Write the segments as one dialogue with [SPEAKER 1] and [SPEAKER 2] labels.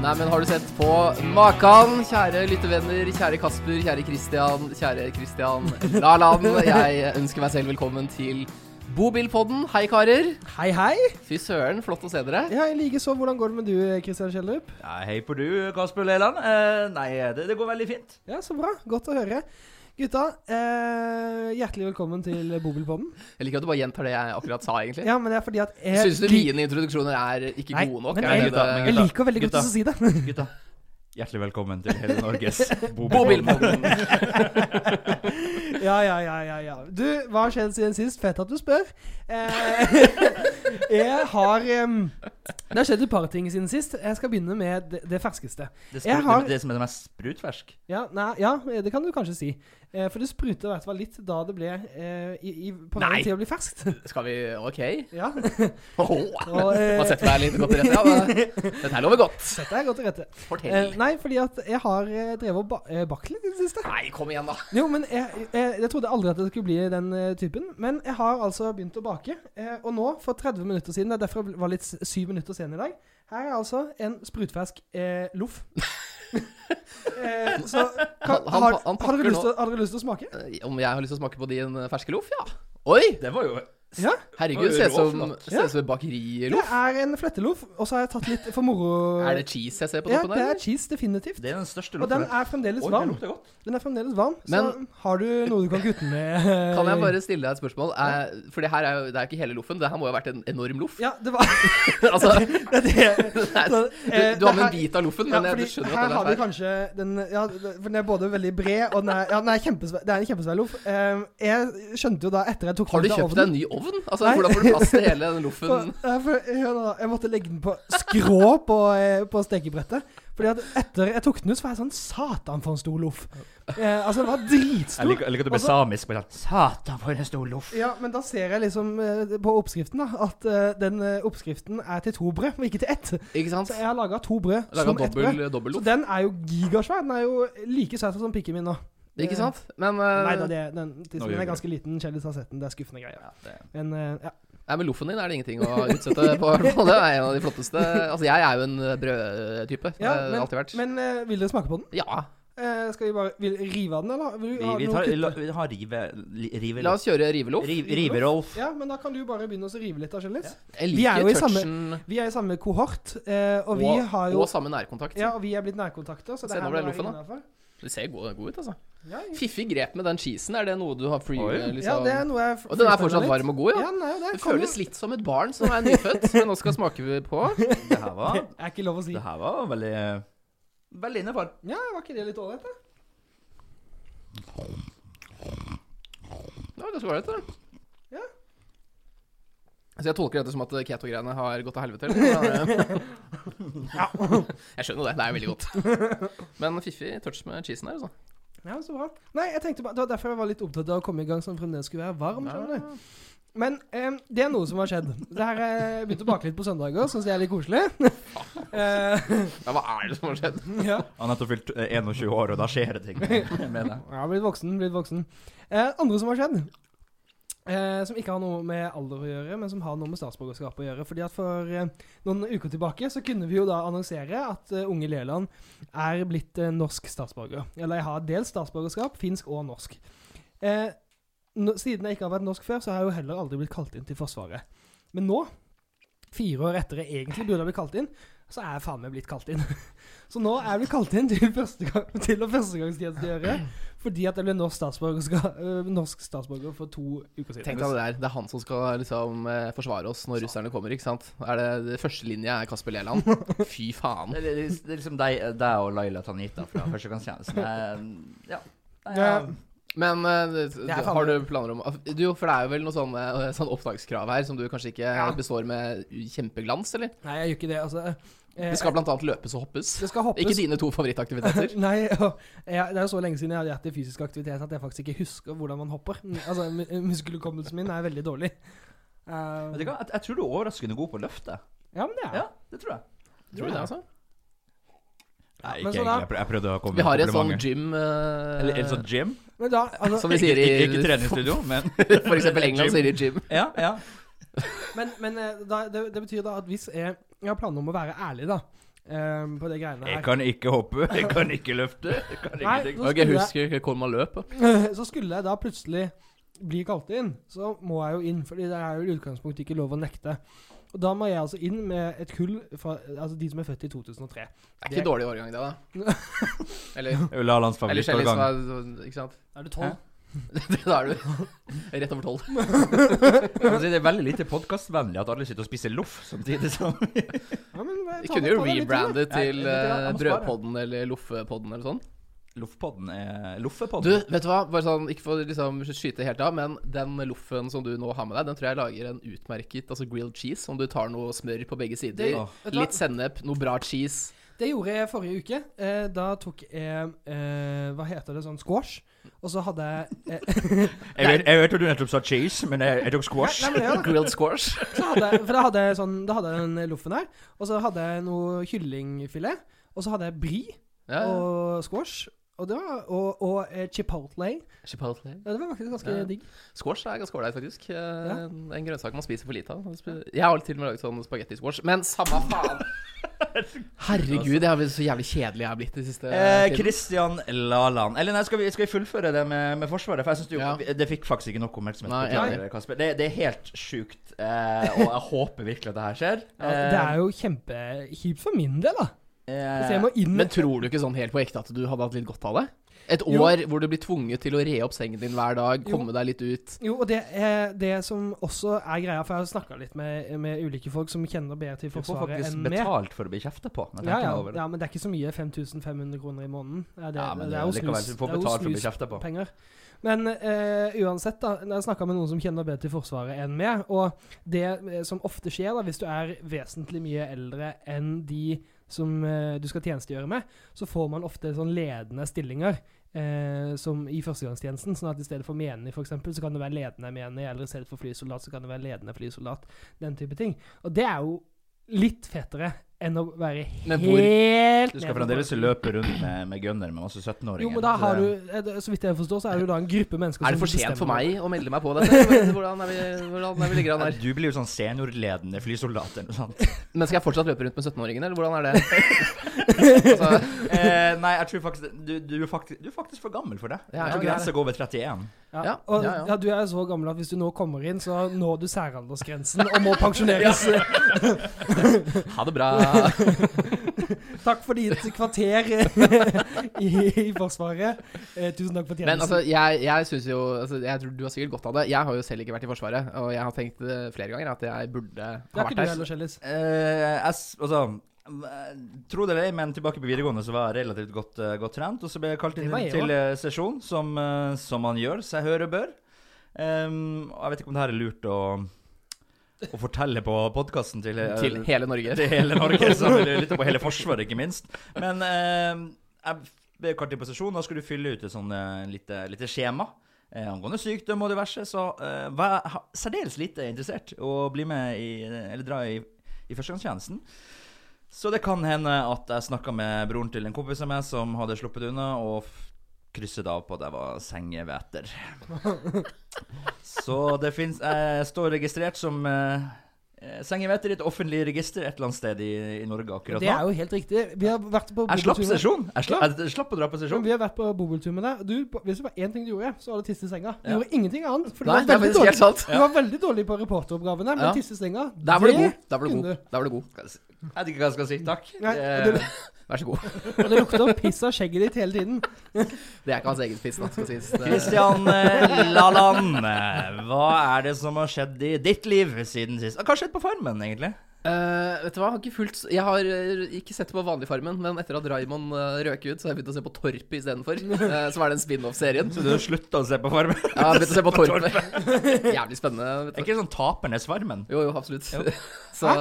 [SPEAKER 1] Nei, men har du sett på Makan? Kjære lyttevenner, kjære Kasper, kjære Christian, kjære Christian Laland. Jeg ønsker meg selv velkommen til Bobilpodden. Hei, karer.
[SPEAKER 2] Hei, hei!
[SPEAKER 1] Fy søren, flott å se dere.
[SPEAKER 2] Ja, jeg liker så. Hvordan går det med du, Kristian Kjellerup?
[SPEAKER 3] Ja, hei på du, Kasper Leiland. Eh, nei, det, det går veldig fint.
[SPEAKER 2] Ja, så bra. Godt å høre. Gutta, eh, hjertelig velkommen til Bobilpodden.
[SPEAKER 1] Jeg liker at du bare gjentar det jeg akkurat sa, egentlig.
[SPEAKER 2] Ja, men det er fordi at jeg
[SPEAKER 1] Syns du mine introduksjoner er ikke
[SPEAKER 2] Nei,
[SPEAKER 1] gode nok?
[SPEAKER 2] men
[SPEAKER 1] Er
[SPEAKER 2] jeg-
[SPEAKER 1] det det-
[SPEAKER 2] Jeg liker veldig godt
[SPEAKER 3] Gutta.
[SPEAKER 2] å si det.
[SPEAKER 3] Gutta, hjertelig velkommen til hele Norges
[SPEAKER 1] Bobilpodden.
[SPEAKER 2] Ja, ja, ja, ja, ja. Du, hva har skjedd siden sist? Fett at du spør. Eh, jeg har em, Det har skjedd et par ting siden sist. Jeg skal begynne med det, det ferskeste.
[SPEAKER 3] Det,
[SPEAKER 2] Jeg
[SPEAKER 3] spru-
[SPEAKER 2] har-
[SPEAKER 3] det, det som er det mest sprutfersk.
[SPEAKER 2] Ja, nei, ja, det kan du kanskje si. Eh, for det spruta i hvert fall litt da det ble eh, i, i, på
[SPEAKER 1] Nei.
[SPEAKER 2] veien til å bli ferskt.
[SPEAKER 1] Skal vi OK?
[SPEAKER 2] Ja.
[SPEAKER 1] Åh,
[SPEAKER 2] Og, eh,
[SPEAKER 1] Man setter deg litt godt til rette. Ja, men dette her lover godt.
[SPEAKER 2] Dette er godt å rette. Eh,
[SPEAKER 1] Fortell.
[SPEAKER 2] nei, fordi at jeg har eh, drevet og ba eh, bakt litt i det siste.
[SPEAKER 1] Nei, kom igjen, da.
[SPEAKER 2] Jo, men jeg, jeg, jeg trodde aldri at det skulle bli den eh, typen. Men jeg har altså begynt å bake. Eh, og nå, for 30 minutter siden, det er derfor jeg var litt s- syv minutter sen i dag, her er altså en sprutfersk eh, loff. eh, så
[SPEAKER 1] Han-
[SPEAKER 2] kan,
[SPEAKER 1] han-
[SPEAKER 2] har,
[SPEAKER 1] han
[SPEAKER 2] har,
[SPEAKER 1] pakker
[SPEAKER 2] dere lyst
[SPEAKER 1] nå-
[SPEAKER 2] til, har dere lyst til å smake?
[SPEAKER 1] Eh, Om jeg har lyst til å smake på din eh, ferske loff? Ja. Oi!
[SPEAKER 3] Det var jo
[SPEAKER 2] Ja.
[SPEAKER 1] Herregud,
[SPEAKER 3] Oi,
[SPEAKER 1] ser ut som,
[SPEAKER 3] råflott.
[SPEAKER 1] ser ut som et
[SPEAKER 2] Det
[SPEAKER 1] bakeriloff.
[SPEAKER 2] er en fletteloff, og så har jeg tatt litt for moro.
[SPEAKER 1] Er det cheese jeg ser på
[SPEAKER 2] ja,
[SPEAKER 1] toppen
[SPEAKER 2] det
[SPEAKER 1] der?
[SPEAKER 2] er cheese, definitivt.
[SPEAKER 3] Det er den største
[SPEAKER 2] Og den
[SPEAKER 3] lukten.
[SPEAKER 2] er fremdeles
[SPEAKER 3] Oi,
[SPEAKER 2] varm.
[SPEAKER 3] det lukter godt.
[SPEAKER 2] Den er fremdeles varm,
[SPEAKER 1] Men-
[SPEAKER 2] så har du noe du kan kutte med?
[SPEAKER 1] Kan jeg bare stille deg et spørsmål? Eh, For det her er jo det er jo ikke hele loffen. Det her må jo ha vært en enorm loff.
[SPEAKER 2] Ja, det var
[SPEAKER 1] altså,
[SPEAKER 2] det er det.
[SPEAKER 1] det er,
[SPEAKER 2] Så,
[SPEAKER 1] du,
[SPEAKER 2] eh,
[SPEAKER 1] du har med
[SPEAKER 2] det
[SPEAKER 1] en bit av loffen,
[SPEAKER 2] Ja,
[SPEAKER 1] men jeg
[SPEAKER 2] fordi
[SPEAKER 1] du skjønner
[SPEAKER 2] her
[SPEAKER 1] at
[SPEAKER 2] har
[SPEAKER 1] den er
[SPEAKER 2] vi
[SPEAKER 1] feil.
[SPEAKER 2] kanskje den Ja, det- for den er både veldig bred, og den er, ja, den er kjempesvær. Det er en kjempesvær loff. Eh, jeg skjønte jo da etter jeg tok
[SPEAKER 1] Har du
[SPEAKER 2] den ut av
[SPEAKER 1] kjøpt deg en ny ovn? Altså,
[SPEAKER 2] Nei.
[SPEAKER 1] Hvordan får du plass til hele den loffen?
[SPEAKER 2] ovnen, for- ja, for- hør nå da, Jeg måtte legge den på skrå på, eh, på stekebrettet. Fordi at etter jeg tok den ut, så var jeg sånn Satan, for en stor loff. Eh, altså, den var dritstor.
[SPEAKER 3] Jeg liker, jeg liker at du blir
[SPEAKER 2] Altså-
[SPEAKER 3] samisk. Bare sånn, Satan, for en stor loff.
[SPEAKER 2] Ja, men da ser jeg liksom eh, på oppskriften da, at eh, den eh, oppskriften er til to brød, og ikke til ett.
[SPEAKER 1] Ikke sant?
[SPEAKER 2] Så jeg har laga to brød
[SPEAKER 1] Laga
[SPEAKER 2] som ett brød.
[SPEAKER 1] dobbel, dobbel
[SPEAKER 2] Så
[SPEAKER 1] loff.
[SPEAKER 2] den er jo gigasvær. Den er jo like svær som pikken min nå.
[SPEAKER 1] Ikke sant? Men, eh,
[SPEAKER 2] Nei da, det, den,
[SPEAKER 3] Nå
[SPEAKER 2] den
[SPEAKER 3] gjør vi
[SPEAKER 2] er ganske liten. Kjendis har sett den. Det er skuffende greier.
[SPEAKER 3] Ja, det-
[SPEAKER 2] Men eh, ja.
[SPEAKER 1] nei, men loffen din er det ingenting å utsette på. i hvert fall. Det er en av de flotteste Altså, jeg er jo en brødtype. Det
[SPEAKER 2] ja
[SPEAKER 1] har jeg
[SPEAKER 2] men,
[SPEAKER 1] alltid vært.
[SPEAKER 2] men eh, vil dere smake på den?
[SPEAKER 1] Ja.
[SPEAKER 2] Eh, skal vi bare vil, rive av den, eller? Vil,
[SPEAKER 3] Vi,
[SPEAKER 2] ha
[SPEAKER 3] vi,
[SPEAKER 2] noe
[SPEAKER 3] tar,
[SPEAKER 2] kutt-
[SPEAKER 3] la, vi har rive... li- rive
[SPEAKER 1] La oss kjøre riveloff.
[SPEAKER 3] Rive- Riverolf.
[SPEAKER 2] ja, men da kan du bare begynne å rive litt av Kjellis.
[SPEAKER 1] Jeg
[SPEAKER 2] Vi er jo
[SPEAKER 1] liker
[SPEAKER 2] i samme-
[SPEAKER 1] touchen
[SPEAKER 2] Vi er i samme kohort, eh, og vi
[SPEAKER 1] og,
[SPEAKER 2] har jo
[SPEAKER 1] og samme nærkontakt.
[SPEAKER 2] ja, og vi er blitt nærkontakter, så
[SPEAKER 1] Se,
[SPEAKER 2] det her
[SPEAKER 1] nå
[SPEAKER 2] må
[SPEAKER 1] ble
[SPEAKER 2] være
[SPEAKER 1] loffen, da.
[SPEAKER 2] innafor.
[SPEAKER 1] Det ser god, god ut, altså.
[SPEAKER 2] Ja,
[SPEAKER 1] Fiffig grep med den cheesen. Er det noe du har free
[SPEAKER 3] Oi.
[SPEAKER 2] Ja,
[SPEAKER 1] liksom?
[SPEAKER 2] det er noe jeg f-
[SPEAKER 1] Og den er
[SPEAKER 2] freestyler
[SPEAKER 1] fortsatt
[SPEAKER 2] litt.
[SPEAKER 1] varm og god, ja.
[SPEAKER 2] Ja, den er jo det.
[SPEAKER 1] Det
[SPEAKER 2] Kom
[SPEAKER 1] føles
[SPEAKER 2] jo.
[SPEAKER 1] litt som et barn som er nyfødt, men nå skal smake vi på.
[SPEAKER 3] Det her var,
[SPEAKER 2] Det er ikke lov å si.
[SPEAKER 3] det her var veldig eh, Veldig innafor.
[SPEAKER 2] Ja, var ikke det litt ålreit, da?
[SPEAKER 1] Det var ganske ålreit, det.
[SPEAKER 2] Ja.
[SPEAKER 1] Så jeg tolker dette som at keto-greiene har gått til helvete? Eller? Ja. Jeg skjønner det. Det er veldig godt. Men fiffig touch med cheesen her, altså.
[SPEAKER 2] Ja, så bra. Nei, jeg tenkte bare, Det var derfor jeg var litt opptatt av å komme i gang som fremdeles skulle være varm. skjønner du. Men eh, det er noe som har skjedd. Det her eh, Jeg begynte å bake litt på søndager, syns jeg er litt koselig. Eh,
[SPEAKER 1] Ja, hva er det som har skjedd?
[SPEAKER 2] ja.
[SPEAKER 3] Han har nettopp fylt eh, 21 år, og da skjer det ting med- med deg.
[SPEAKER 2] Jeg har blitt voksen, blitt voksen. Eh, andre som har skjedd, eh, som ikke har noe med alder å gjøre, men som har noe med statsborgerskap å gjøre. fordi at For eh, noen uker tilbake så kunne vi jo da annonsere at eh, Unge Leland er blitt eh, norsk statsborger. Eller jeg har dels statsborgerskap, finsk og norsk. Eh, nå- siden jeg ikke har vært norsk før, så har jeg jo heller aldri blitt kalt inn til Forsvaret. Men nå, fire år etter jeg egentlig burde ha blitt kalt inn, så er jeg faen meg blitt kalt inn. Så nå er jeg blitt kalt inn til, første gang, til å førstegangstjenestegjøre fordi at jeg ble norsk statsborger, skal, øh, norsk statsborger for to uker siden.
[SPEAKER 1] Tenk deg det der. Det er han som skal liksom eh, forsvare oss når russerne kommer, ikke sant? Er det, det første linja er Kasper Leland. Fy faen.
[SPEAKER 3] Det er, det er liksom deg, deg og Laila Tanita fra førstegangstjenesten. Eh, Ja. Nei,
[SPEAKER 2] Ja.
[SPEAKER 1] Men eh, d-
[SPEAKER 2] er faen
[SPEAKER 1] har
[SPEAKER 2] meg-
[SPEAKER 1] du planer om du, For det er jo vel noe sånn, eh, sånn opptakskrav her som du kanskje ikke
[SPEAKER 2] Ja.
[SPEAKER 1] består med kjempeglans, eller?
[SPEAKER 2] Nei, jeg gjør ikke det. Altså, eh,
[SPEAKER 1] Det skal blant annet løpes og hoppes.
[SPEAKER 2] det skal hoppes.
[SPEAKER 1] Ikke dine to favorittaktiviteter.
[SPEAKER 2] Nei, og jeg, det er jo så lenge siden jeg har vært i fysisk aktivitet at jeg faktisk ikke husker hvordan man hopper. Altså, mu- Muskelhukommelsen min er veldig dårlig. Eh,
[SPEAKER 3] Vet du hva? Jeg, jeg tror du er overraskende god på å løfte.
[SPEAKER 2] ja, men det er
[SPEAKER 3] Ja, det tror jeg.
[SPEAKER 1] Tror du det, altså?
[SPEAKER 3] Nei,
[SPEAKER 2] men
[SPEAKER 3] ikke
[SPEAKER 2] så
[SPEAKER 3] egentlig.
[SPEAKER 2] da-
[SPEAKER 3] Jeg, prøv, jeg prøvde å komme
[SPEAKER 1] Vi har
[SPEAKER 3] med
[SPEAKER 1] et sånn
[SPEAKER 3] komplimenter.
[SPEAKER 1] gym eh,
[SPEAKER 3] Eller, eller sånn gym.
[SPEAKER 2] Men da, altså,
[SPEAKER 1] Som vi sier i
[SPEAKER 3] Ikke, ikke treningsstudio, men
[SPEAKER 1] For eksempel England
[SPEAKER 3] Gym.
[SPEAKER 1] sier de gym.
[SPEAKER 3] Ja, ja.
[SPEAKER 2] Men, men eh, da, det, det betyr da at hvis jeg, jeg har planer om å være ærlig, da eh, på det greiene
[SPEAKER 3] Jeg
[SPEAKER 2] her.
[SPEAKER 3] kan ikke hoppe, jeg kan ikke løfte. Jeg kan
[SPEAKER 2] Nei,
[SPEAKER 1] Ok,
[SPEAKER 2] nå
[SPEAKER 3] ingenting.
[SPEAKER 2] skulle
[SPEAKER 1] jeg
[SPEAKER 2] jeg-
[SPEAKER 1] husker ikke hvor man løp.
[SPEAKER 2] Så skulle jeg da plutselig bli kalt inn, så må jeg jo inn, fordi det er jo i utgangspunktet ikke lov å nekte. Og da må jeg altså inn med et kull fra altså de som er født i 2003.
[SPEAKER 1] Det er ikke dårlig årgang, det, da. Eller,
[SPEAKER 3] Jeg vil ha lands
[SPEAKER 1] eller Kjell som
[SPEAKER 3] favorittårgang.
[SPEAKER 1] er Ikke sant?
[SPEAKER 2] Er du
[SPEAKER 1] tolv? da er du rett over tolv.
[SPEAKER 3] Altså, Det er veldig lite podkastvennlig at alle sitter og spiser loff samtidig som
[SPEAKER 2] Ja, men jeg
[SPEAKER 1] Vi
[SPEAKER 2] tar
[SPEAKER 1] kunne
[SPEAKER 2] meg-
[SPEAKER 1] jo
[SPEAKER 2] tar meg litt til,
[SPEAKER 1] rebrandet
[SPEAKER 3] Nei,
[SPEAKER 1] til
[SPEAKER 3] vet du hva,
[SPEAKER 1] eh,
[SPEAKER 3] jeg må spare.
[SPEAKER 1] Brødpodden eller Loffepodden eller sånn.
[SPEAKER 3] Loffpodden er
[SPEAKER 1] Du,
[SPEAKER 3] Loffepodden?
[SPEAKER 1] vet du hva? Bare sånn, Ikke for å liksom skyte helt av, men den loffen som du nå har med deg, den tror jeg lager en utmerket altså grilled cheese, om du tar noe smør på begge
[SPEAKER 2] Det-
[SPEAKER 1] sider.
[SPEAKER 3] Åh.
[SPEAKER 2] vet du hva?
[SPEAKER 1] Litt sennep, noe bra cheese.
[SPEAKER 2] Det gjorde jeg forrige uke. Eh, da tok jeg eh, Hva heter det? Sånn squash. Og så hadde jeg eh,
[SPEAKER 3] Jeg vet, jeg vet at du nettopp sa cheese, men jeg, jeg tok squash.
[SPEAKER 2] Nei, men ja, da.
[SPEAKER 1] Grilled squash.
[SPEAKER 2] Så hadde jeg, for da hadde jeg sånn Da hadde jeg den loffen her. Og så hadde jeg noe kyllingfilet. Og så hadde jeg brie
[SPEAKER 1] Ja, ja.
[SPEAKER 2] og squash. Og, det var, og, og eh, chipotle.
[SPEAKER 1] Chipotle.
[SPEAKER 2] Ja, det var faktisk ganske
[SPEAKER 1] Ja.
[SPEAKER 2] digg.
[SPEAKER 1] Squash er ganske ålreit, faktisk. Eh, En grønnsak man spiser for lite av. Jeg har til og med laget sånn spagetti-squash, men samme faen! Herregud, jeg har blitt så jævlig kjedelig jeg har blitt det siste
[SPEAKER 3] Eh,
[SPEAKER 1] tiden.
[SPEAKER 3] Christian Laland. Eller nei, skal vi, skal vi fullføre det med, med Forsvaret? For jeg synes det jo,
[SPEAKER 1] Ja.
[SPEAKER 3] vi- det fikk faktisk ikke nok oppmerksomhet.
[SPEAKER 1] Nei,
[SPEAKER 3] Beklager,
[SPEAKER 2] nei.
[SPEAKER 3] Kasper. Det, det er helt sjukt, eh, og jeg håper virkelig at det her skjer.
[SPEAKER 2] Ja, det er jo kjempekjipt for min del, da.
[SPEAKER 3] Eh,
[SPEAKER 2] Hvis jeg må inn
[SPEAKER 1] Men tror du ikke sånn helt på ekte at du hadde hatt litt godt av det? Et
[SPEAKER 2] Jo.
[SPEAKER 1] år hvor du blir tvunget til å re opp sengen din hver dag,
[SPEAKER 2] Jo.
[SPEAKER 1] komme deg litt ut.
[SPEAKER 2] Jo, og det, er det som også er greia, for jeg har snakka litt med, med ulike folk som kjenner bedre til
[SPEAKER 3] Du får
[SPEAKER 2] Forsvaret
[SPEAKER 3] faktisk
[SPEAKER 2] enn meg.
[SPEAKER 3] betalt for å bli kjefta på. når jeg
[SPEAKER 2] Ja,
[SPEAKER 3] tenker
[SPEAKER 2] ja,
[SPEAKER 3] meg over det.
[SPEAKER 2] ja, men det er ikke så mye. 5500 kroner i måneden. Ja, det,
[SPEAKER 3] Ja,
[SPEAKER 2] det
[SPEAKER 3] men det
[SPEAKER 2] er jo
[SPEAKER 3] likevel,
[SPEAKER 2] snus-
[SPEAKER 3] du får
[SPEAKER 2] det er jo
[SPEAKER 3] betalt for å bli
[SPEAKER 2] snus-
[SPEAKER 3] kjefta på.
[SPEAKER 2] penger. Men eh, uansett, da, når jeg snakka med noen som kjenner bedre til Forsvaret enn meg, og det eh, som ofte skjer da, hvis du er vesentlig mye eldre enn de som eh, du skal tjenestegjøre med, så får man ofte sånn ledende stillinger. Eh, som i førstegangstjenesten, sånn at i stedet for menig for eksempel, så kan det være ledende menig, eller i stedet for flysoldat, så kan det være ledende flysoldat. Den type ting. Og det er jo litt fetere enn å være
[SPEAKER 1] Men
[SPEAKER 2] helt
[SPEAKER 1] hvor-
[SPEAKER 2] ned
[SPEAKER 3] Du
[SPEAKER 2] på
[SPEAKER 3] skal fremdeles
[SPEAKER 2] bakken.
[SPEAKER 3] løpe rundt med, med gunner med masse
[SPEAKER 2] Jo,
[SPEAKER 3] 17-åringer.
[SPEAKER 2] men da
[SPEAKER 3] så
[SPEAKER 2] har
[SPEAKER 3] det-
[SPEAKER 2] du, er det- så vidt jeg forstår, så er du da en gruppe mennesker
[SPEAKER 1] Er det
[SPEAKER 2] som
[SPEAKER 1] for sent for
[SPEAKER 2] bestemmer.
[SPEAKER 1] meg å melde meg på dette? Hvordan er vi, hvordan er vi ligger an
[SPEAKER 3] Nei,
[SPEAKER 1] her?
[SPEAKER 3] Du blir jo sånn seniorledende flysoldat eller noe sånt.
[SPEAKER 1] Men skal jeg fortsatt løpe rundt med 17-åringene, eller hvordan er det? altså,
[SPEAKER 3] eh, nei, jeg tror faktisk du, du, er faktisk du er faktisk for gammel for det.
[SPEAKER 1] Ja,
[SPEAKER 3] jeg
[SPEAKER 1] jeg
[SPEAKER 3] tror
[SPEAKER 1] er
[SPEAKER 3] grensa går ved 31.
[SPEAKER 2] Ja.
[SPEAKER 1] Ja,
[SPEAKER 2] og,
[SPEAKER 1] ja, ja.
[SPEAKER 2] du er så gammel at hvis du nå kommer inn, så når du særaldersgrensen og må pensjoneres.
[SPEAKER 1] ha det bra.
[SPEAKER 2] Takk for ditt kvarter i, i Forsvaret. Eh, tusen takk for tjenesten.
[SPEAKER 1] Men altså, jeg, jeg synes jo altså, Jeg tror du har sikkert godt av det. Jeg har jo selv ikke vært i Forsvaret, og jeg har tenkt eh, flere ganger at jeg burde
[SPEAKER 2] det
[SPEAKER 1] ha
[SPEAKER 2] er ikke
[SPEAKER 1] vært
[SPEAKER 2] du
[SPEAKER 1] der.
[SPEAKER 2] heller, Kjellis.
[SPEAKER 3] Eh, jeg, s- altså eh, Tro det eller ei, men tilbake på videregående så var jeg relativt godt, eh, godt trent. Og så ble jeg kalt
[SPEAKER 2] Det
[SPEAKER 3] inn
[SPEAKER 2] var jeg
[SPEAKER 3] til eh, sesjon, som, eh, som man gjør, så jeg hører bør. Ehm, og jeg vet ikke om det her er lurt å, å fortelle på podkasten til, eh,
[SPEAKER 1] Til hele Norge.
[SPEAKER 3] til hele Norge, så vil jeg lytte på hele Forsvaret, ikke minst. Men ehm, jeg ble kalt inn på sesjon, da skulle du fylle ut et sånt eh, lite, lite skjema. eh, Angående sykdom og diverse, så eh, var jeg ha- særdeles lite interessert å bli med i, eller dra i, i førstegangstjenesten. Så det kan hende at jeg snakka med broren til en kompis av meg som hadde sluppet unna, og f- krysset av på at jeg var sengeveter. Så det fins Jeg står registrert som eh, eh, sengeveter i et offentlig register et eller annet sted i, i Norge akkurat
[SPEAKER 2] Det er
[SPEAKER 3] nå.
[SPEAKER 2] jo helt riktig. Vi har vært på
[SPEAKER 3] Jeg slapp
[SPEAKER 2] bobiltur med-
[SPEAKER 3] sesjon! Jeg slapp, jeg slapp å dra på
[SPEAKER 2] Men
[SPEAKER 3] sesjon.
[SPEAKER 2] vi har vært på bobiltur med deg. Du, hvis det var én ting du gjorde, så var det tisse i senga. Du
[SPEAKER 3] Ja.
[SPEAKER 2] gjorde ingenting annet. For du,
[SPEAKER 1] Nei, det
[SPEAKER 2] var
[SPEAKER 1] er
[SPEAKER 2] veldig
[SPEAKER 1] faktisk
[SPEAKER 2] dårlig,
[SPEAKER 1] helt sant.
[SPEAKER 2] du var veldig dårlig på reporteroppgavene, men
[SPEAKER 1] Ja.
[SPEAKER 2] tisse i senga
[SPEAKER 1] Der var du
[SPEAKER 2] det-
[SPEAKER 1] god. Der var du god.
[SPEAKER 2] kunne.
[SPEAKER 1] Der var du god.
[SPEAKER 3] Jeg vet ikke hva jeg skal si. Takk.
[SPEAKER 2] Nei,
[SPEAKER 3] Det-
[SPEAKER 1] Eh,
[SPEAKER 2] det-
[SPEAKER 1] Vær så god.
[SPEAKER 2] Og det lukter piss av skjegget ditt hele tiden.
[SPEAKER 1] Det er ikke hans eget piss, da, skal sies. Det-
[SPEAKER 3] Kristian eh, Laland, eh, hva er det som har skjedd i ditt liv siden sist? Ah, Hva har skjedd på Farmen, egentlig?
[SPEAKER 1] Eh, vet du hva, jeg har ikke fulgt s- Jeg har eh, ikke sett på vanlig Farmen, men etter at Raymond eh, røk ut, så har jeg begynt å se på Torpet istedenfor. Uh, som er den spin-off-serien.
[SPEAKER 3] Så du har slutta å se på Farmen?
[SPEAKER 1] Jeg har begynt å se på Torpet. Jævlig spennende.
[SPEAKER 3] Er
[SPEAKER 1] Vet du.
[SPEAKER 3] ikke det sånn Tapernes Farmen?
[SPEAKER 1] Jo, jo, absolutt.
[SPEAKER 3] Jo.
[SPEAKER 1] Så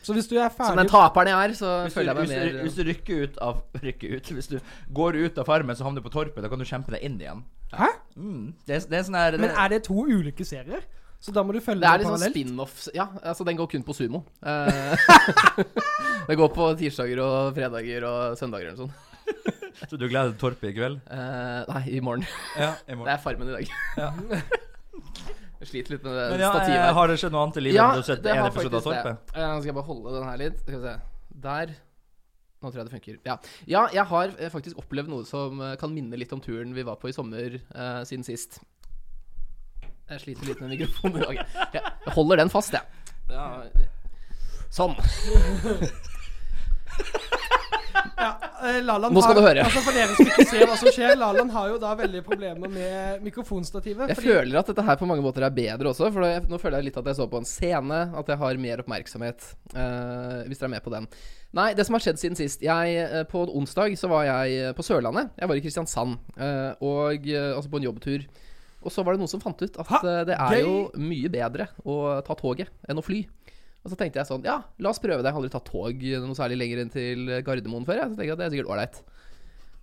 [SPEAKER 2] Så hvis du er
[SPEAKER 1] som
[SPEAKER 2] ferdig
[SPEAKER 1] den taperen jeg er, så
[SPEAKER 3] Hvis du,
[SPEAKER 1] føler jeg
[SPEAKER 3] hvis,
[SPEAKER 1] meg
[SPEAKER 3] du,
[SPEAKER 1] mer eh,
[SPEAKER 3] hvis du rykker ut av Rykker ut Hvis du går ut av Farmen, så havner du på Torpet. Da kan du kjempe deg inn igjen.
[SPEAKER 2] Hæ?
[SPEAKER 3] Mm. Det, er, det er sånn her
[SPEAKER 2] Men er det to ulike serier? Så da må du følge
[SPEAKER 1] Det er
[SPEAKER 2] det
[SPEAKER 1] liksom
[SPEAKER 2] parallelt.
[SPEAKER 1] spin-off Ja, altså den går kun på sumo. Eh, det går på tirsdager og fredager og søndager eller noe sånt.
[SPEAKER 3] Så du gleder deg til Torpet i kveld?
[SPEAKER 1] Eh, nei, i morgen.
[SPEAKER 3] Ja, i
[SPEAKER 1] Det er Farmen i dag.
[SPEAKER 3] Ja.
[SPEAKER 1] Jeg sliter litt med det
[SPEAKER 3] Men ja,
[SPEAKER 1] stativet.
[SPEAKER 3] eh, har det skjedd noe annet i livet?
[SPEAKER 1] Ja,
[SPEAKER 3] enn du har sett
[SPEAKER 1] det
[SPEAKER 3] en
[SPEAKER 1] har
[SPEAKER 3] episode av
[SPEAKER 1] faktisk det.
[SPEAKER 3] Torpet?
[SPEAKER 1] Eh, nå skal jeg bare holde den her litt. Skal vi se. Der. Nå tror jeg det funker. Ja. ja, jeg har eh, faktisk opplevd noe som eh, kan minne litt om turen vi var på i sommer eh, siden sist. Jeg sliter litt med mikrofonen i dag. Jeg- Jeg holder den fast, jeg. Ja. Sånn.
[SPEAKER 2] Eh, Lalan
[SPEAKER 1] Nå skal
[SPEAKER 2] har,
[SPEAKER 1] du høre.
[SPEAKER 2] Altså For dere som ikke ser hva som skjer, Lalan har jo da veldig problemer med mikrofonstativet.
[SPEAKER 1] Jeg føler at dette her på mange måter er bedre også, for da- jeg, nå føler jeg litt at jeg så på en scene, at jeg har mer oppmerksomhet, eh, hvis dere er med på den. Nei, det som har skjedd siden sist jeg, eh, På onsdag så var jeg eh, på Sørlandet. Jeg var i Kristiansand, eh, og, eh, altså på en jobbtur. Og så var det noen som fant ut at
[SPEAKER 2] Ha,
[SPEAKER 1] eh, det er
[SPEAKER 2] gøy!
[SPEAKER 1] jo mye bedre å ta toget enn å fly. Og så tenkte jeg sånn, ja, la oss prøve det. Jeg har aldri tatt tog noe særlig lenger enn til eh, Gardermoen før. Jeg. Så tenkte jeg at det er sikkert ålreit.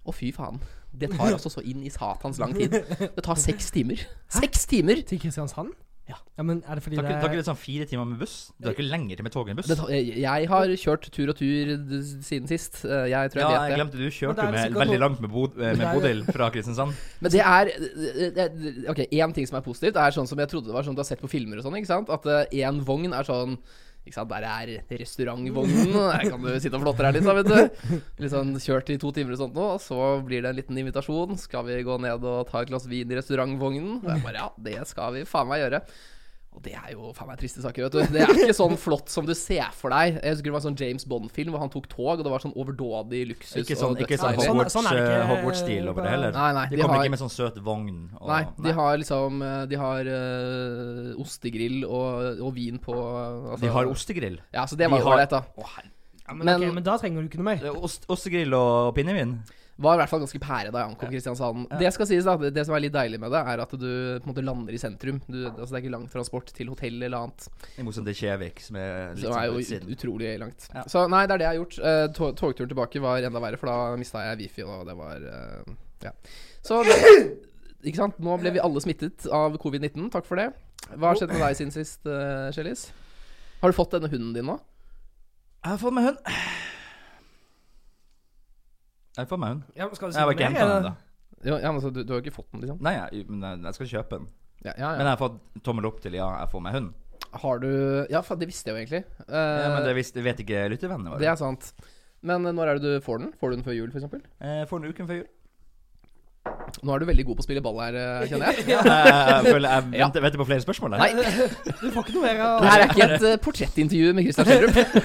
[SPEAKER 1] Å, fy faen. Det tar altså så inn i satans lang tid. Det tar seks timer. Seks timer!
[SPEAKER 2] Til Kristiansand?
[SPEAKER 1] Ja.
[SPEAKER 2] men er det fordi
[SPEAKER 3] Tar
[SPEAKER 2] det
[SPEAKER 3] ikke
[SPEAKER 2] er
[SPEAKER 3] tar ikke det sånn fire timer med buss? Du har ikke lenger til med tog enn buss?
[SPEAKER 1] Det tar, jeg jeg har kjørt tur og tur d- siden sist. Eh, Jeg tror
[SPEAKER 3] ja,
[SPEAKER 1] jeg
[SPEAKER 3] jeg
[SPEAKER 1] vet det.
[SPEAKER 3] glemte du
[SPEAKER 2] Men det
[SPEAKER 3] kjørte
[SPEAKER 2] er
[SPEAKER 3] jo
[SPEAKER 2] liksom
[SPEAKER 3] med,
[SPEAKER 2] ikke
[SPEAKER 3] veldig
[SPEAKER 2] noe-
[SPEAKER 3] langt med, bod, eh, med
[SPEAKER 2] Nei.
[SPEAKER 3] Bodil fra Kristiansand.
[SPEAKER 1] Men det er det- det- det- Ok, én ting som er positivt, er sånn som jeg trodde det var, sånn du har sett på filmer og sånn, ikke sant? At én vogn er sånn ikke sant, Der er restaurantvognen, der kan du sitte og flotte deg litt, da, vet du. Litt sånn kjørt i to timer og sånt nå, og så blir det en liten invitasjon. Skal vi gå ned og ta et glass vin i restaurantvognen? Og jeg bare ja, det skal vi faen meg gjøre. Og det er jo faen meg triste saker, vet du. Det er ikke sånn flott som du ser for deg. Jeg husker det var en sånn James Bond-film hvor han tok tog, og det var sånn overdådig luksus.
[SPEAKER 3] Ikke sånn,
[SPEAKER 1] og
[SPEAKER 3] ikke
[SPEAKER 2] sånn
[SPEAKER 3] sånn
[SPEAKER 1] dødseilig.
[SPEAKER 2] Hogwarts- sånn
[SPEAKER 3] Hogwarts-stil
[SPEAKER 2] er det ikke,
[SPEAKER 3] over det heller.
[SPEAKER 1] Nei, nei,
[SPEAKER 3] de
[SPEAKER 1] de
[SPEAKER 3] kommer
[SPEAKER 1] har-
[SPEAKER 3] ikke med sånn søt vogn. Og,
[SPEAKER 1] Nei, de
[SPEAKER 3] nei.
[SPEAKER 1] har liksom eh, De har eh, ostegrill og, og vin på altså,
[SPEAKER 3] De har ostegrill.
[SPEAKER 1] Ja, så det
[SPEAKER 3] de
[SPEAKER 1] var jo
[SPEAKER 3] har-
[SPEAKER 1] ålreit, da.
[SPEAKER 3] Å, herre-
[SPEAKER 2] ja, men,
[SPEAKER 1] Men-
[SPEAKER 2] ok, men da trenger du ikke noe mer.
[SPEAKER 3] Det er Eh, Ost, ostegrill og pinnevin?
[SPEAKER 1] Var i hvert fall ganske pære da jeg ankom Kristiansand. Det skal sies da, det, det som er litt deilig med det, er at du på en måte lander i sentrum. Du, altså, det er ikke lang transport til hotell eller annet.
[SPEAKER 3] I motsetning til Kjevik, som er litt
[SPEAKER 1] Som er
[SPEAKER 3] sånn
[SPEAKER 1] jo
[SPEAKER 3] på
[SPEAKER 1] ut-
[SPEAKER 3] utsiden.
[SPEAKER 1] utrolig langt.
[SPEAKER 3] Ja.
[SPEAKER 1] Så nei, det er det jeg har gjort. Eh, to- togturen tilbake var enda verre, for da mista jeg wifi, og det var eh, Ja. Så Ikke sant. Nå ble vi alle smittet av covid-19. Takk for det. Hva har skjedd med deg siden sist, uh, Shellis? Har du fått denne hunden din nå?
[SPEAKER 3] Jeg har fått meg hund. Jeg har fått meg hund.
[SPEAKER 2] Ja, men skal du si
[SPEAKER 3] Jeg har
[SPEAKER 2] noe
[SPEAKER 3] ikke
[SPEAKER 2] mer,
[SPEAKER 3] henta den
[SPEAKER 2] eller?
[SPEAKER 3] ennå.
[SPEAKER 1] Jo, ja, men altså, du, du har ikke fått den, liksom?
[SPEAKER 3] Nei, jeg, men jeg, jeg skal kjøpe den.
[SPEAKER 1] Ja, ja,
[SPEAKER 3] Men
[SPEAKER 1] ja.
[SPEAKER 3] jeg har fått tommel opp til ja, jeg får meg hund.
[SPEAKER 1] Har du Ja, faen, det visste jeg jo egentlig. Eh,
[SPEAKER 3] Ja, men det,
[SPEAKER 1] det,
[SPEAKER 3] visste- det vet ikke lyttevennene våre.
[SPEAKER 1] er sant. Men eh, når er det du får den? Får du den før jul, f.eks.?
[SPEAKER 3] Eh, får den uken før jul.
[SPEAKER 1] Nå er du veldig god på å spille ball her, eh, kjenner jeg.
[SPEAKER 3] Eh, jeg føler jeg
[SPEAKER 1] Ja.
[SPEAKER 3] venter, venter på flere spørsmål. her.
[SPEAKER 1] Nei,
[SPEAKER 2] Du får ikke noe mer av
[SPEAKER 1] det her er ikke et eh, portrettintervju med Christian Schjelderup.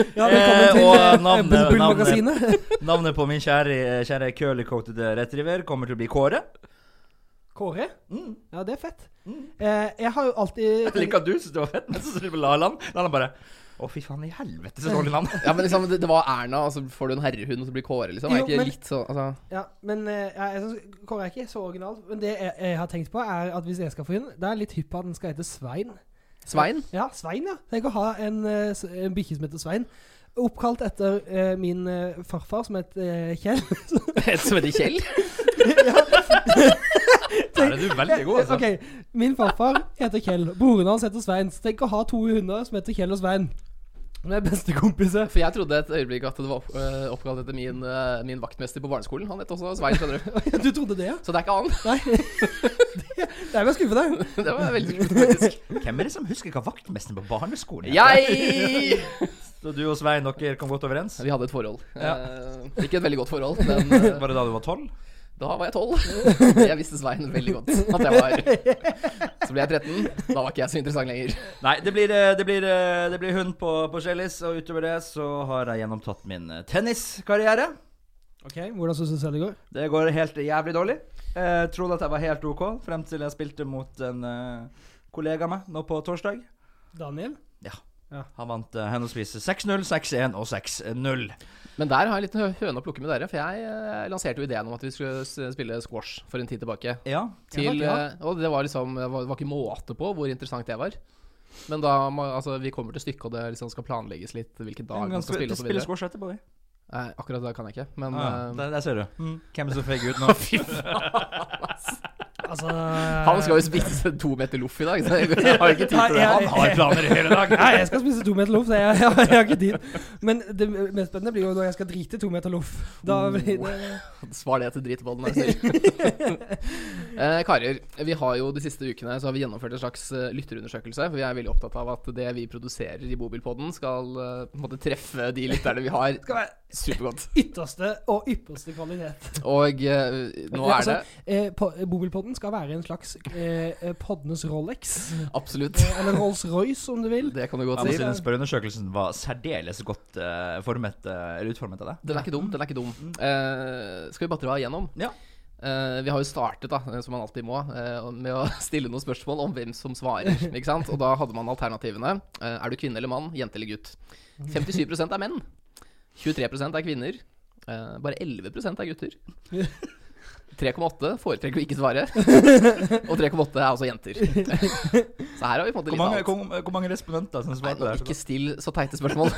[SPEAKER 2] Ja, velkommen til
[SPEAKER 3] Eh, og,
[SPEAKER 2] eh,
[SPEAKER 3] navnet-
[SPEAKER 2] Bull- Bull-magasinet.
[SPEAKER 3] Navnet på min kjære, kjære curly-coated retriever kommer til å bli Kåre.
[SPEAKER 2] Kåre?
[SPEAKER 3] Mm.
[SPEAKER 2] Ja, det er fett.
[SPEAKER 3] Mm.
[SPEAKER 2] Eh, jeg har jo alltid
[SPEAKER 3] Jeg liker at du syns det var fett, men så sier du på Lalan. Lalan bare Å, fy faen i helvete, så dårlig navn.
[SPEAKER 1] Ja, men liksom, det, det var Erna, og så får du en herrehund, og så blir Kåre, liksom. Er
[SPEAKER 2] Jo,
[SPEAKER 1] ikke
[SPEAKER 2] men-
[SPEAKER 1] litt sånn altså.
[SPEAKER 2] Ja, men eh, jeg, jeg synes, Kåre er ikke så original. Men det jeg, jeg har tenkt på, er at hvis jeg skal få hund, da er jeg litt hypp på at den skal hete Svein.
[SPEAKER 1] Svein?
[SPEAKER 2] Ja, Svein, ja. Tenk å ha en, eh, s- en bikkje som heter Svein. Oppkalt etter eh, min eh, farfar, som het eh, Kjell.
[SPEAKER 1] Et som heter Kjell?
[SPEAKER 3] Der er du veldig god, altså.
[SPEAKER 2] Ok, Min farfar heter Kjell. Broren hans heter Svein. Så tenk å ha to hunder som heter Kjell og Svein. De er bestekompiser.
[SPEAKER 1] For jeg trodde et øyeblikk at det var opp, øh, oppkalt etter min, øh, min vaktmester på barneskolen. Han het også Svein, skjønner du.
[SPEAKER 2] Du trodde det, ja?
[SPEAKER 1] Så det er ikke han.
[SPEAKER 2] Jeg ble skuffet.
[SPEAKER 1] Det var veldig kult, faktisk.
[SPEAKER 3] Hvem er det som husker hva vaktmesteren på barneskolen
[SPEAKER 1] Jeg!
[SPEAKER 3] Så du og Svein, dere kom godt overens?
[SPEAKER 1] Vi hadde et forhold.
[SPEAKER 3] Ja.
[SPEAKER 1] Eh, ikke et veldig godt forhold, men øh,
[SPEAKER 3] Var det da du var tolv?
[SPEAKER 1] da var jeg tolv. Jeg visste Svein veldig godt at jeg var. Så ble jeg 13. Da var ikke jeg så interessant lenger.
[SPEAKER 3] Nei, det blir, eh, det blir, eh, det blir hund på, på Shellis, og utover det så har jeg gjennomtatt min eh, tenniskarriere.
[SPEAKER 2] Ok, Hvordan syns du selv det går?
[SPEAKER 3] Det går helt jævlig dårlig. Eh, trodde at jeg var helt OK frem til jeg spilte mot en eh, kollega av meg nå på torsdag.
[SPEAKER 2] Daniel?
[SPEAKER 3] Han vant eh, henholdsvis 6-0, 6-1 og 6-0.
[SPEAKER 1] Men der har jeg en liten hø- høne å plukke med dere, for jeg øh, lanserte jo ideen om at vi skulle s- spille squash for en tid tilbake.
[SPEAKER 3] Ja.
[SPEAKER 1] Til,
[SPEAKER 2] Ja,
[SPEAKER 1] eh, Og det var liksom det var, var ikke måte på hvor interessant det var. Men da må, altså, vi kommer til stykket, og det liksom skal planlegges litt hvilken dag man skal spille
[SPEAKER 3] Ganske,
[SPEAKER 1] og så
[SPEAKER 3] spille
[SPEAKER 1] videre.
[SPEAKER 3] squash etterpå, vi.
[SPEAKER 1] Nei, akkurat det kan jeg ikke, men
[SPEAKER 3] Ah,
[SPEAKER 1] eh,
[SPEAKER 3] der, der ser du. Mm. Hvem er det som feiger ut nå?
[SPEAKER 1] Fy faen, ass.
[SPEAKER 2] Altså
[SPEAKER 1] Han skal jo spise to meter loff i dag, så jeg har ikke tid til det.
[SPEAKER 2] Nei,
[SPEAKER 3] Han har planer i hele dag.
[SPEAKER 2] Nei, jeg skal spise to meter loff, så jeg, jeg, har ikke tid. Men det mest spennende blir jo når jeg skal drite to meter loff. Da
[SPEAKER 1] Oh.
[SPEAKER 2] blir det
[SPEAKER 1] Svar det til dritbollen, er du snill. eh, karer, vi har jo de siste ukene så har vi gjennomført en slags eh, lytterundersøkelse. For vi er veldig opptatt av at det vi produserer i Bobilpodden, skal eh, på en måte treffe de lytterne vi har,
[SPEAKER 2] skal være
[SPEAKER 1] supergodt.
[SPEAKER 2] ytterste og ypperste kvalitet.
[SPEAKER 1] Og eh, nå er det
[SPEAKER 2] Altså, eh, po- Bobilpodden skal være en slags eh, eh, poddenes Rolex.
[SPEAKER 1] absolutt
[SPEAKER 2] Eh, eller Rolls-Royce, om du vil.
[SPEAKER 1] Det kan du godt
[SPEAKER 3] Jeg må
[SPEAKER 1] si.
[SPEAKER 3] si den spørreundersøkelsen var særdeles godt eh, formet, eh, eller utformet av deg.
[SPEAKER 1] Den er ikke dum. den er ikke dum Eh, Skal vi bare dra igjennom?
[SPEAKER 3] Mm, Ja.
[SPEAKER 1] Eh, vi har jo startet, da, eh, som man alltid må, eh, med å stille noen spørsmål om hvem som svarer. ikke sant? Og da hadde man alternativene. Eh, er du kvinne eller mann? Jente eller gutt? 57 er menn. 23 er kvinner. Eh, bare 11 er gutter. 3,8 foretrekker å ikke svare. Og 3,8 er altså jenter. Så her har vi fått det litt
[SPEAKER 3] Hvor
[SPEAKER 1] av
[SPEAKER 3] mange,
[SPEAKER 1] alt.
[SPEAKER 3] hvor, hvor mange respondenter som
[SPEAKER 1] Nei,
[SPEAKER 3] svarte
[SPEAKER 1] nå,
[SPEAKER 3] der?
[SPEAKER 1] ikke still så teite spørsmål.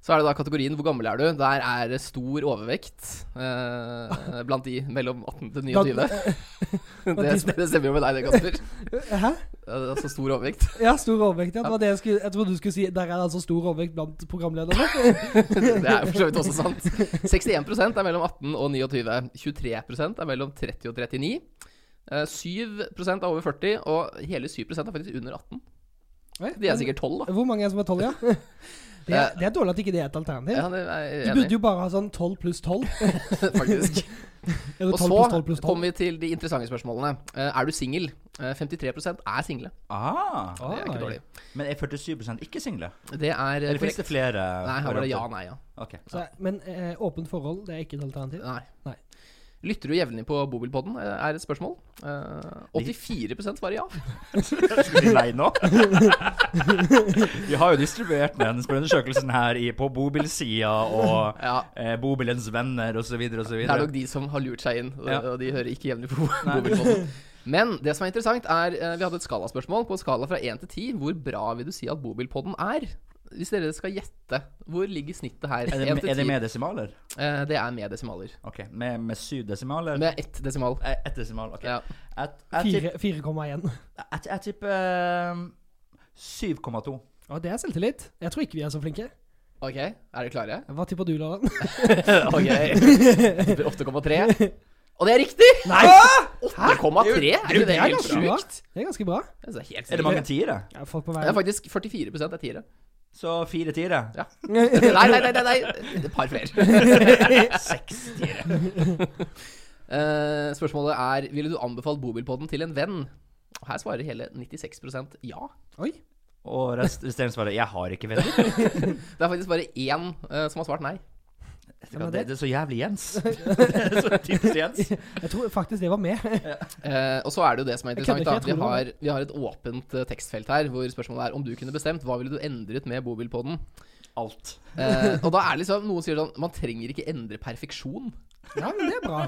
[SPEAKER 1] så er det da kategorien 'Hvor gammel er du?' Der er det stor overvekt eh, blant de mellom 18 til 29. det, det stemmer jo med deg, det, Kasper.
[SPEAKER 2] Hæ?
[SPEAKER 1] Eh, Altså stor overvekt.
[SPEAKER 2] Ja, stor overvekt. Ja. Det var det jeg, skulle, jeg trodde du skulle si der er det altså stor overvekt blant programlederne.
[SPEAKER 1] Det er for så vidt også sant. 61 er mellom 18 og 29. 23 er mellom 30 og 39. Eh, 7 er over 40, og hele 7 er faktisk under 18.
[SPEAKER 2] Oi,
[SPEAKER 1] De er sikkert 12, da.
[SPEAKER 2] Eh, Hvor mange er det som er tolv, ja? Det er, det er dårlig at ikke det er et alternativ.
[SPEAKER 1] Ja, det er
[SPEAKER 2] Du
[SPEAKER 1] jeg
[SPEAKER 2] burde
[SPEAKER 1] enig,
[SPEAKER 2] jo bare ha sånn 12 pluss 12.
[SPEAKER 1] i, faktisk.
[SPEAKER 2] Eller
[SPEAKER 1] Og
[SPEAKER 2] 12 pluss 12
[SPEAKER 1] så
[SPEAKER 2] pluss 12.
[SPEAKER 1] kommer vi til de interessante spørsmålene. Eh, Er du singel? Eh, 53 er single.
[SPEAKER 3] Ah,
[SPEAKER 1] Det er ikke dårlig.
[SPEAKER 3] men er 47 ikke single?
[SPEAKER 1] Det er eh,
[SPEAKER 3] Eller finnes
[SPEAKER 1] korrekt.
[SPEAKER 3] det flere?
[SPEAKER 1] Nei, her var det ja
[SPEAKER 3] varianter?
[SPEAKER 1] nei, ja.
[SPEAKER 3] Ok.
[SPEAKER 2] Så, men eh, åpent forhold, det er ikke et alternativ.
[SPEAKER 1] Nei.
[SPEAKER 2] Nei.
[SPEAKER 1] Lytter du jevnlig på Bobilpodden? eh, Er et spørsmål. Eh, 84 svarer ja.
[SPEAKER 3] Skal vi si nei nå? Vi har jo distribuert den spørreundersøkelsen her i, på bobilsida og
[SPEAKER 1] ja.
[SPEAKER 3] eh, bobilens venner osv. osv.
[SPEAKER 1] Det er nok de som har lurt seg inn, og-
[SPEAKER 3] Ja.
[SPEAKER 1] og de hører ikke jevnlig på Bobilpodden. Men det som er interessant, er eh, Vi hadde et skalaspørsmål. På en skala fra 1 til 10, hvor bra vil du si at Bobilpodden er? Hvis dere skal gjette, hvor ligger snittet her?
[SPEAKER 3] Er, det-
[SPEAKER 1] 1 til
[SPEAKER 3] er det
[SPEAKER 1] 10.
[SPEAKER 3] med desimaler?
[SPEAKER 1] Eh, Det er med desimaler.
[SPEAKER 3] Ok, Med, med syv desimaler?
[SPEAKER 1] Med ett desimal.
[SPEAKER 3] Eh, Ett desimal, OK.
[SPEAKER 1] Ja.
[SPEAKER 3] Jeg, jeg, tipp,
[SPEAKER 2] Fire- 4,1.
[SPEAKER 3] jeg, jeg tipper eh, 7,2.
[SPEAKER 2] Å, det er selvtillit. Jeg tror ikke vi er så flinke.
[SPEAKER 1] Ok, er dere klare?
[SPEAKER 2] Hva tipper du, Loven?
[SPEAKER 1] Ok, Tipper 8,3. Og det er riktig!
[SPEAKER 2] Nei!
[SPEAKER 1] 8,3? Er ikke det
[SPEAKER 2] er
[SPEAKER 1] helt
[SPEAKER 2] ganske bra.
[SPEAKER 1] sjukt?
[SPEAKER 2] Det er ganske bra.
[SPEAKER 1] Det er, helt
[SPEAKER 3] Er det
[SPEAKER 1] sykt.
[SPEAKER 3] mange tiere?
[SPEAKER 2] Ja, folk på
[SPEAKER 1] det er
[SPEAKER 2] veien.
[SPEAKER 1] faktisk 44 er tiere.
[SPEAKER 3] Så fire tiere?
[SPEAKER 1] Nei, nei, nei. nei, nei. Et par flere.
[SPEAKER 3] Seks tiere.
[SPEAKER 1] Eh, spørsmålet er Ville du anbefalt bobilpodden til en venn? Og Her svarer hele 96 ja.
[SPEAKER 2] Oi.
[SPEAKER 3] Og rest- resterende svaret jeg har ikke venner.
[SPEAKER 1] Det er faktisk bare én eh, som har svart nei.
[SPEAKER 2] Ja, men
[SPEAKER 3] Det,
[SPEAKER 2] det-
[SPEAKER 3] det er så jævlig Jens. så typisk Jens.
[SPEAKER 2] Jeg tror faktisk det var med.
[SPEAKER 1] Eh, og så er det jo det som er
[SPEAKER 2] Jeg
[SPEAKER 1] interessant.
[SPEAKER 2] kødder ikke,
[SPEAKER 1] da
[SPEAKER 2] jeg
[SPEAKER 1] Vi
[SPEAKER 2] tror det var
[SPEAKER 1] har, vi har et åpent eh, tekstfelt her hvor spørsmålet er om du kunne bestemt, hva ville du endret med bobilpodden?
[SPEAKER 3] Alt.
[SPEAKER 1] Eh, og da er det liksom Noen sier sånn Man trenger ikke endre perfeksjon.
[SPEAKER 2] Ja, men det er bra.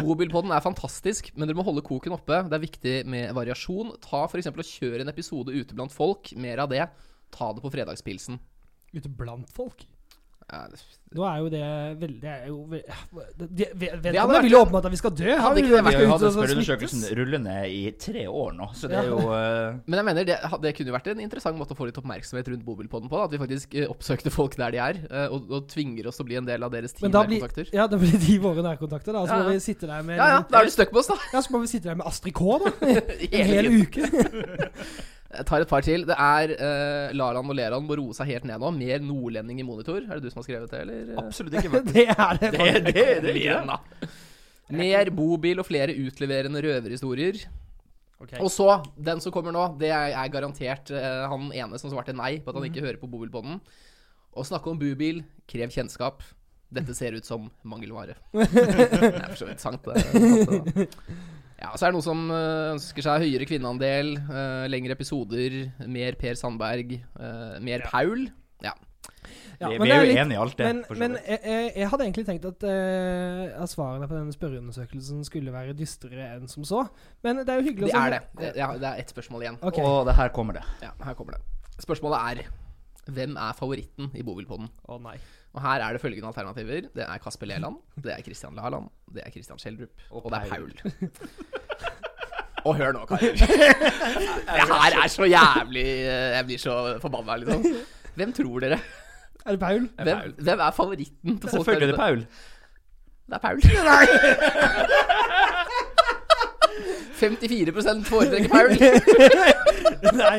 [SPEAKER 1] Bobilpodden er fantastisk, men dere må holde koken oppe. Det er viktig med variasjon. Ta f.eks. og kjør en episode ute blant folk. Mer av det. Ta det på fredagspilsen.
[SPEAKER 2] Ute blant folk.
[SPEAKER 1] Ja, det-
[SPEAKER 2] Nå er jo det veldig Det er jo ve- de- ve-
[SPEAKER 1] hadde
[SPEAKER 2] Vedkommende
[SPEAKER 1] vært-
[SPEAKER 2] vil jo åpenbart at vi skal dø. Han
[SPEAKER 1] ikke
[SPEAKER 2] vil
[SPEAKER 1] det
[SPEAKER 2] jo
[SPEAKER 1] vært
[SPEAKER 2] vi skal
[SPEAKER 3] Vi har jo
[SPEAKER 2] ut
[SPEAKER 3] hatt
[SPEAKER 2] og så
[SPEAKER 3] spørreundersøkelsen
[SPEAKER 2] smittes.
[SPEAKER 3] rullende i tre år nå, så det er jo eh,
[SPEAKER 1] Men jeg mener det, det kunne jo vært en interessant måte å få litt oppmerksomhet rundt bobilpodden på. Da, at vi faktisk eh, oppsøkte folk der de er, eh, og, og tvinger oss til å bli en del av deres
[SPEAKER 2] Men da
[SPEAKER 1] teamkontakter.
[SPEAKER 2] blir,
[SPEAKER 1] kontakter
[SPEAKER 2] ja, da blir de våre nærkontakter. Da. Så
[SPEAKER 1] Ja,
[SPEAKER 2] må
[SPEAKER 1] ja.
[SPEAKER 2] vi sitte der med
[SPEAKER 1] ja, ja, da er du stuck på oss, da.
[SPEAKER 2] Ja, så må vi sitte der med Astrid K, da. En
[SPEAKER 1] Hele
[SPEAKER 2] hel
[SPEAKER 1] tiden.
[SPEAKER 2] uke.
[SPEAKER 1] Jeg tar et par til. Det er eh, Laran og Leran må roe seg helt ned nå. Mer nordlending i monitor. Er det du som har skrevet det, eller?
[SPEAKER 3] absolutt ikke
[SPEAKER 2] Det er det.
[SPEAKER 3] Det, det, det er ikke det.
[SPEAKER 1] Lena. Mer bobil og flere utleverende røverhistorier.
[SPEAKER 2] Ok.
[SPEAKER 1] Og så, den som kommer nå, det er, er garantert eh, han ene som svarte nei på at han ikke hører på bobilpodden. Å snakke om bubil, krev kjennskap. Dette ser ut som mangelvare. det er for så vidt sant, det. sant det da. Ja, så er det noen som eh, ønsker seg høyere kvinneandel, eh, lengre episoder, mer Per Sandberg, eh, mer Paul. Ja.
[SPEAKER 2] Ja,
[SPEAKER 3] Vi-
[SPEAKER 2] men
[SPEAKER 3] Vi
[SPEAKER 2] det
[SPEAKER 3] er jo
[SPEAKER 2] litt-
[SPEAKER 3] enige i alt det.
[SPEAKER 2] Men,
[SPEAKER 3] for så
[SPEAKER 2] men
[SPEAKER 3] vidt.
[SPEAKER 2] jeg, jeg, jeg hadde egentlig tenkt at, eh, at svarene på denne spørreundersøkelsen skulle være dystrere enn som så. Men det er jo hyggelig
[SPEAKER 1] Det
[SPEAKER 2] å se-
[SPEAKER 1] er det. Det er, det er ett spørsmål igjen.
[SPEAKER 2] Ok.
[SPEAKER 3] Og det her kommer det.
[SPEAKER 1] Ja, her kommer det. Spørsmålet er Hvem er favoritten i bobilpodden?
[SPEAKER 2] Å nei.
[SPEAKER 1] Og her er det følgende alternativer. Det er Kasper Leland, det er Christian Laland, det er Christian Schjelderup, og, det er Paul. og hør nå, karer. Det her er så jævlig eh, Jeg blir så forbanna, liksom. Hvem tror dere?
[SPEAKER 2] Er det Paul?
[SPEAKER 1] Hvem, hvem er favoritten til folk?
[SPEAKER 3] Selvfølgelig
[SPEAKER 1] der
[SPEAKER 3] er det
[SPEAKER 1] ute?
[SPEAKER 3] Paul.
[SPEAKER 1] Det er Paul. Nei. 54 foretrekker Paul.
[SPEAKER 2] nei.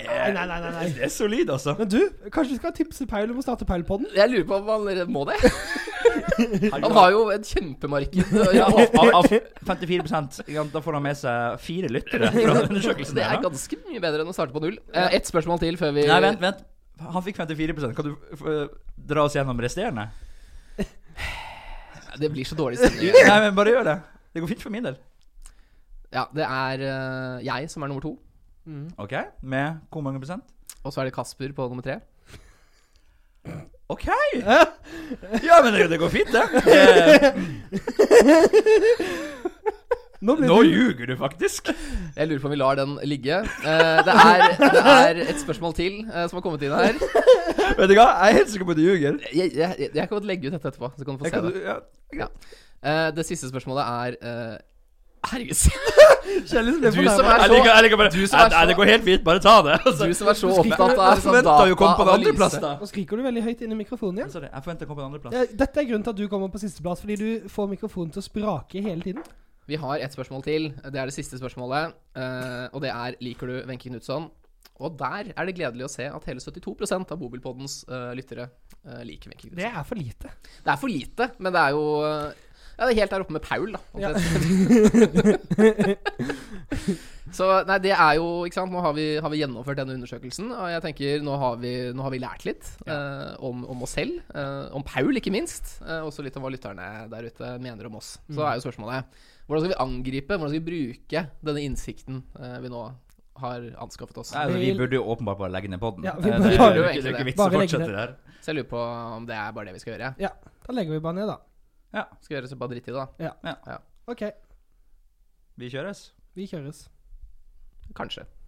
[SPEAKER 2] Nei, nei, nei, nei, nei.
[SPEAKER 3] Det er solid, altså.
[SPEAKER 2] Men du, kanskje vi skal tipse Paul om å starte Paul-podden?
[SPEAKER 1] Jeg lurer på om han må det. Han har jo et kjempemarked.
[SPEAKER 3] ja,
[SPEAKER 1] Ja,
[SPEAKER 3] av, av 54 ikke sant, Da får han med seg fire lyttere fra den undersøkelsen.
[SPEAKER 1] det
[SPEAKER 3] der,
[SPEAKER 1] er
[SPEAKER 3] da.
[SPEAKER 1] ganske mye bedre enn å starte på null. Eh, Ett spørsmål til før vi
[SPEAKER 3] Nei, vent, vent. Han fikk 54 Kan du eh, dra oss gjennom resterende?
[SPEAKER 1] Det blir så dårlig stemning.
[SPEAKER 3] Nei, men bare gjør det. Det går fint for min del.
[SPEAKER 1] Ja, det er eh, jeg som er nummer to,
[SPEAKER 3] OK? Med hvor mange prosent?
[SPEAKER 1] og så er det Kasper på nummer tre.
[SPEAKER 3] OK! Ja, men det, det går fint, det. Eh,
[SPEAKER 2] Nå blir
[SPEAKER 3] Eh, Nå
[SPEAKER 2] du
[SPEAKER 3] ljuger du faktisk.
[SPEAKER 1] Jeg lurer på om vi lar den ligge. Eh, det, er, det er et spørsmål til eh, som har kommet inn her.
[SPEAKER 3] Vet du hva, jeg er helt sikker på at du ljuger.
[SPEAKER 1] Jeg, jeg, jeg kan godt legge ut dette etterpå, så kan du få
[SPEAKER 3] Jeg
[SPEAKER 1] se
[SPEAKER 3] kan,
[SPEAKER 1] det.
[SPEAKER 3] ja.
[SPEAKER 1] Eh, det siste spørsmålet er eh, Herregud,
[SPEAKER 2] Kjellisen ble
[SPEAKER 1] du som er
[SPEAKER 2] fornærmet.
[SPEAKER 3] sånn- Jeg
[SPEAKER 1] så,
[SPEAKER 3] liker, jeg liker bare
[SPEAKER 1] du som
[SPEAKER 3] Nei,
[SPEAKER 1] er
[SPEAKER 3] nei,
[SPEAKER 1] så-
[SPEAKER 3] det går helt fint, bare ta det. Altså.
[SPEAKER 1] du som er så
[SPEAKER 2] skriker-
[SPEAKER 1] opptatt
[SPEAKER 3] Jeg
[SPEAKER 1] av sånn
[SPEAKER 3] forventa jo å komme på en andreplass,
[SPEAKER 1] dataanalyse.
[SPEAKER 3] da.
[SPEAKER 2] Nå skriker du veldig høyt inn i mikrofonen igjen.
[SPEAKER 3] Sorry, jeg forventa å komme på en andreplass.
[SPEAKER 2] Ja, Dette er grunnen til at du kommer på sisteplass, fordi du får mikrofonen til å sprake hele tiden.
[SPEAKER 1] Vi har et spørsmål til. Det er det siste spørsmålet. eh, og det er Liker du Wenche Knutson? Og der er det gledelig å se at hele 72 av Bobilpoddens eh, lyttere eh, liker Wenche
[SPEAKER 2] Det
[SPEAKER 1] Knutson.
[SPEAKER 2] er for lite.
[SPEAKER 1] Det er for lite, men det er jo eh, ja, det er helt der oppe med Paul, da.
[SPEAKER 2] Ja.
[SPEAKER 1] Så nei, det er jo Ikke sant. Nå har vi, har vi gjennomført denne undersøkelsen. Og jeg tenker nå har vi, nå har vi lært litt eh, om, om oss selv. eh, om Paul, ikke minst. eh, også litt om hva lytterne der ute mener om oss. Så er jo spørsmålet hvordan skal vi angripe, hvordan skal vi bruke denne innsikten eh, vi nå har anskaffet oss.
[SPEAKER 3] Nei, altså, vi burde jo åpenbart bare legge ned poden.
[SPEAKER 2] Ja, vi
[SPEAKER 3] det,
[SPEAKER 2] burde
[SPEAKER 3] er jo
[SPEAKER 1] bare-
[SPEAKER 3] ikke- det er jo ikke vits å
[SPEAKER 2] bare legge
[SPEAKER 3] fortsette
[SPEAKER 2] ned.
[SPEAKER 3] der.
[SPEAKER 1] Så jeg lurer på om det er bare det vi skal gjøre.
[SPEAKER 2] Ja, da legger vi bare ned, da.
[SPEAKER 1] Skal vi gjøre så bare dritt i det, da?
[SPEAKER 2] OK,
[SPEAKER 3] Vi kjøres.
[SPEAKER 2] vi kjøres.
[SPEAKER 1] Kanskje.